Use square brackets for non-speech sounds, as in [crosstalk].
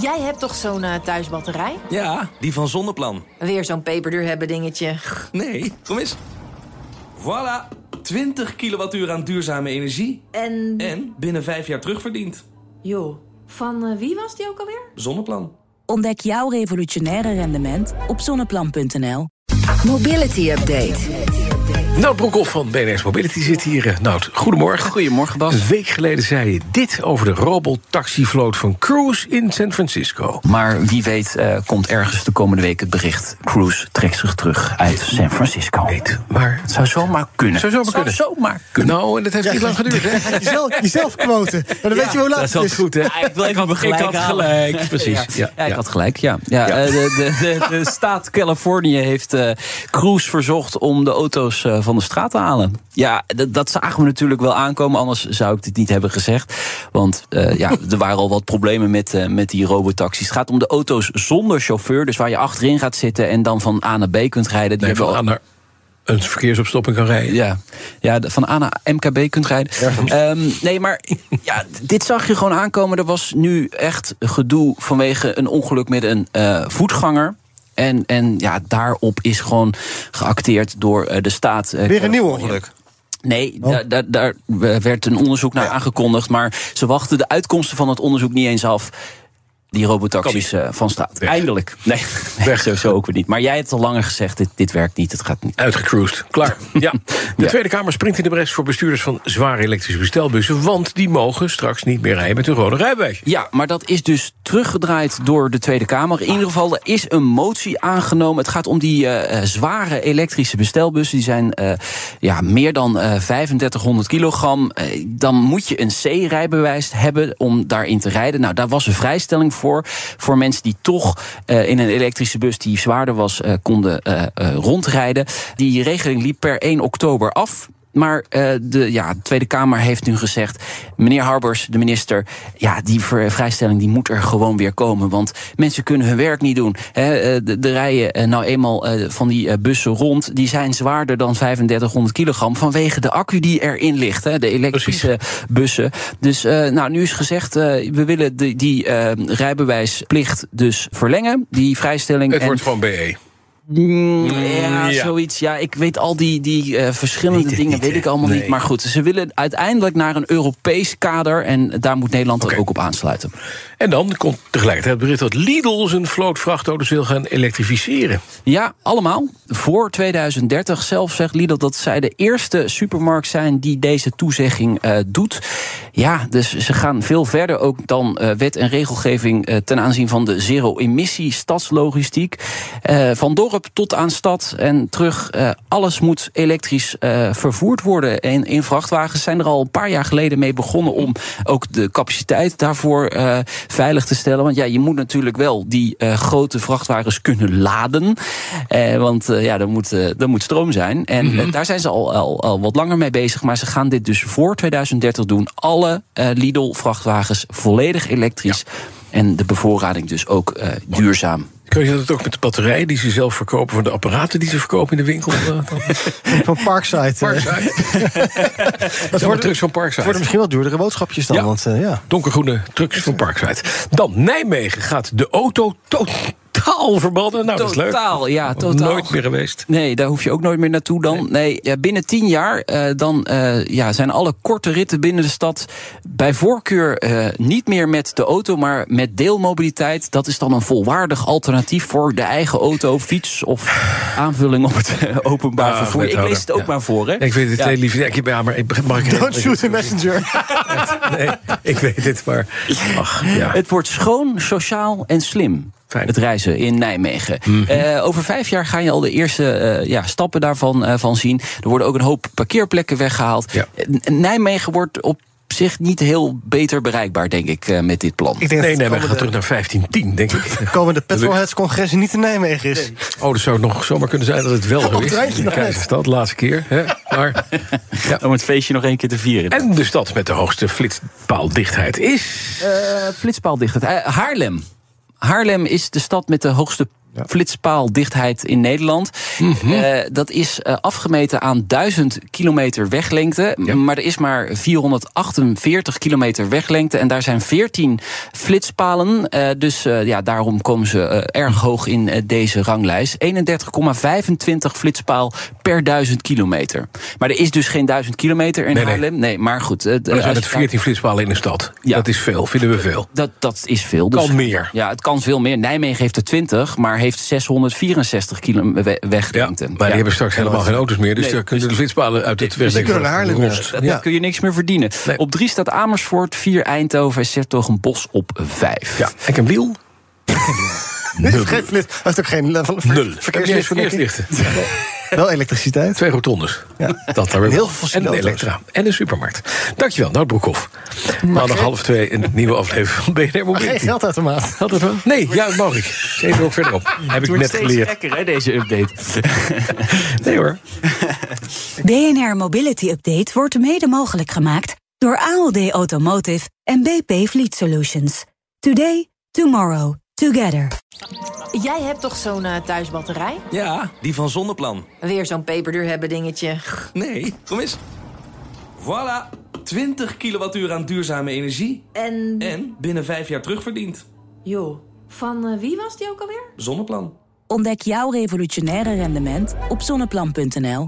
Jij hebt toch zo'n eh, thuisbatterij? Ja, die van Zonneplan. Weer zo'n peperduur hebben dingetje. Nee, kom eens. Voilà, 20 kilowattuur aan duurzame energie. En, En binnen vijf jaar terugverdiend. joh, van eh, wie was die ook alweer? Zonneplan. Ontdek jouw revolutionaire rendement op zonneplan.nl. Mobility update. Nout Broekhoff van BNS Mobility zit hier. Eh, Nout, goedemorgen. Goedemorgen, Bas. Een week geleden zei je dit over de robotaxifloot van Cruise in San Francisco. Maar wie weet eh, komt ergens de komende week het bericht... Cruise trekt zich terug uit San Francisco. Weet, maar... Het zou zomaar kunnen. Zou zomaar kunnen. Zou zomaar kunnen. Nou, en dat heeft niet lang geduurd, [laughs] hè? Jezelf, jezelf quoten. Maar dan weet je hoe laat Dat is altijd het is. goed, hè? Ja, ik wil even had, gelijk had halen. gelijk, precies. Ja, ik had gelijk, ja. ja, Ja. eh, de, de, de, de staat Californië heeft eh, Cruise verzocht om de auto's eh, van de straat te halen. Ja, dat, dat zagen we natuurlijk wel aankomen, anders zou ik dit niet hebben gezegd. Want [laughs] eh, ja, er waren al wat problemen met, eh, met die robotaxis. Het gaat om de auto's zonder chauffeur, dus waar je achterin gaat zitten en dan van A naar B kunt rijden. Die Nee, hebben van al- aan naar een verkeersopstopping kan rijden. ja, ja de- van A naar MKB kunt rijden. Ehm, nee, maar ja, dit zag je gewoon aankomen. Er was nu echt gedoe vanwege een ongeluk met een eh, voetganger. En, en ja, daarop is gewoon geacteerd door eh, de staat. eh, Weer een nieuw ongeluk. Nee, da- da- daar werd een onderzoek naar aangekondigd. Maar ze wachten de uitkomsten van het onderzoek niet eens af. Die robotaxis eh, van straat. Weg. Eindelijk. Nee, [laughs] nee Weg. sowieso ook weer niet. Maar jij hebt al langer gezegd: dit, dit werkt niet, het gaat niet. Uitgecruised. Klaar. [laughs] [laughs] Ja. De Ja. Tweede Kamer springt in de bres voor bestuurders van zware elektrische bestelbussen. Want die mogen straks niet meer rijden met hun rode rijbewijs. Ja, maar dat is dus teruggedraaid door de Tweede Kamer. In ieder geval, er is een motie aangenomen. Het gaat om die eh, eh, zware elektrische bestelbussen. Die zijn eh, ja, meer dan eh, 3500 kilogram. Eh, dan moet je een C-rijbewijs hebben om daarin te rijden. Nou, daar was een vrijstelling voor. Voor mensen die toch eh, in een elektrische bus die zwaarder was, eh, konden eh, eh, rondrijden. Die regeling liep per 1 oktober af. Maar eh, de, ja, de Tweede Kamer heeft nu gezegd... meneer Harbers, de minister, ja, die ver- vrijstelling die moet er gewoon weer komen. Want mensen kunnen hun werk niet doen. Hè, eh, de, de rijen eh, nou eenmaal eh, van die eh, bussen rond... die zijn zwaarder dan 3500 kilogram vanwege de accu die erin ligt. Hè, de elektrische bussen. Dus eh, nou, nu is gezegd, eh, we willen die, die eh, rijbewijsplicht dus verlengen. Die vrijstelling. Het En- wordt gewoon E. BE. ja, ja. zoiets. Ja, ik weet al die, die eh, verschillende Niet, dingen niet, weet hè? ik allemaal Nee. niet. Maar goed, ze willen uiteindelijk naar een Europees kader. En daar moet Nederland er Oké. ook op aansluiten. En dan komt tegelijkertijd het bericht dat Lidl zijn vloot vrachtauto's wil gaan elektrificeren. Ja, allemaal. Voor 2030 zelf zegt Lidl dat zij de eerste supermarkt zijn die deze toezegging eh, doet. Ja, dus ze gaan veel verder ook dan eh, wet en regelgeving eh, ten aanzien van de zero-emissie stadslogistiek. Eh, van dorp tot aan stad en terug. eh, alles moet elektrisch eh, vervoerd worden. En in vrachtwagens zijn er al een paar jaar geleden mee begonnen om ook de capaciteit daarvoor eh, veilig te stellen. Want ja, je moet natuurlijk wel die eh, grote vrachtwagens kunnen laden. Eh, want eh, ja, er moet, eh, er moet stroom zijn. En Mhm. eh, daar zijn ze al, al, al wat langer mee bezig. Maar ze gaan dit dus voor 2030 doen. Alle eh, Lidl-vrachtwagens volledig elektrisch. En de bevoorrading dus ook eh, duurzaam. Kun je dat ook met de batterijen die ze zelf verkopen... van de apparaten die ze verkopen in de winkel? eh, dan? Van Parkside. eh. Parkside. [laughs] Dat worden- wordt trucks van Het worden Parkside. misschien wel duurdere boodschapjes dan. Ja. Want eh, ja. Donkergroene trucks van Parkside. Dan Nijmegen gaat de auto totaal verbannen. Nou, dat is leuk. Totaal, ja, Nog totaal. Nooit meer geweest. Nee, daar hoef je ook nooit meer naartoe dan. Nee, ja, binnen tien jaar eh, dan, eh, ja, zijn alle korte ritten binnen de stad bij voorkeur eh, niet meer met de auto, maar met deelmobiliteit. Dat is dan een volwaardig alternatief voor de eigen auto, fiets of aanvulling op het eh, openbaar Ah, vervoer. Ik wethouder, lees het ook ja. maar voor, hè? Ik weet het, Ja. nee, lief. Ik, ja, maar ik, mag ik Don't shoot the messenger. Nee, ik weet het, maar... Ach, ja. Het wordt schoon, sociaal en slim. Fijn. Mhm. Het reizen in Nijmegen. Eh, over vijf jaar ga je al de eerste eh, ja, stappen daarvan eh, van zien. Er worden ook een hoop parkeerplekken weggehaald. Ja. Eh, N- Nijmegen wordt op zich niet heel beter bereikbaar, denk ik, eh, met dit plan. Ik denk Nee, dat nee, het we gaan komende, terug naar 1510, denk ik. komende Petrolheads-congres niet in Nijmegen is. Oh, dat zou nog zomaar kunnen zijn dat het wel zo is. treintje De nog net. Keizerstad, laatste keer. Hè? Maar, ja. Om het feestje nog één keer te vieren. En En de stad met de hoogste flitspaaldichtheid is... flitspaaldichtheid. Eh, Haarlem. Haarlem is de stad met de hoogste flitspaaldichtheid in Nederland. Mhm. Eh, dat is eh, afgemeten aan 1000 kilometer weglengte. Maar er is maar 448 kilometer weglengte. En daar zijn 14 flitspalen. Eh, dus eh, ja, daarom komen ze eh, erg hoog in eh, deze ranglijst. 31,25 flitspaal per 1000 kilometer. Maar er is dus geen 1000 kilometer in Nee, nee. Haarlem. Nee, maar goed. eh, Maar er zijn als het je kijkt- 14 flitspalen in de stad. Ja. Dat is veel, vinden we veel. dat, dat is veel. Dus Kan meer. Ja, het kan veel meer. Nijmegen heeft er 20, maar heeft 664 kilometer Ja, maar wegrengte. die hebben straks helemaal geen auto's meer. Dus Nee, daar kunnen de flitspalen uit het die wegdenken. kunnen naar Haarlem rost. werken. ja. Ja. kun je niks meer verdienen. Nee. Op 3 staat Amersfoort, 4 Eindhoven en Sertogenbos op 5. Ja, ik heb Wiel. Hij heeft geen flit. Hij heeft ook geen eh, van- Nul. verkeerslichtverlichting. Verkeerslichten. Wel elektriciteit. Twee rotondes. Dat daar weer. En heel wel. veel En een auto's. elektra. En een supermarkt. Dankjewel, Nout Broekhoff. Maandag half twee een nieuwe aflevering van BNR Maar geen Mobility. geldautomaat. Had het wel? Nee, ja, dat mag ik. Zeven ook verderop. Heb ik net geleerd. lekker hè, deze update. Nee hoor. BNR Mobility Update wordt mede mogelijk gemaakt door ALD Automotive en BP Fleet Solutions. Today, tomorrow, together. Jij hebt toch zo'n eh, thuisbatterij? Ja, die van Zonneplan. Weer zo'n peperduur hebben dingetje. Nee, kom eens. Voilà, 20 kilowattuur aan duurzame energie. En En binnen vijf jaar terugverdiend. joh, van eh, wie was die ook alweer? Zonneplan. Ontdek jouw revolutionaire rendement op zonneplan.nl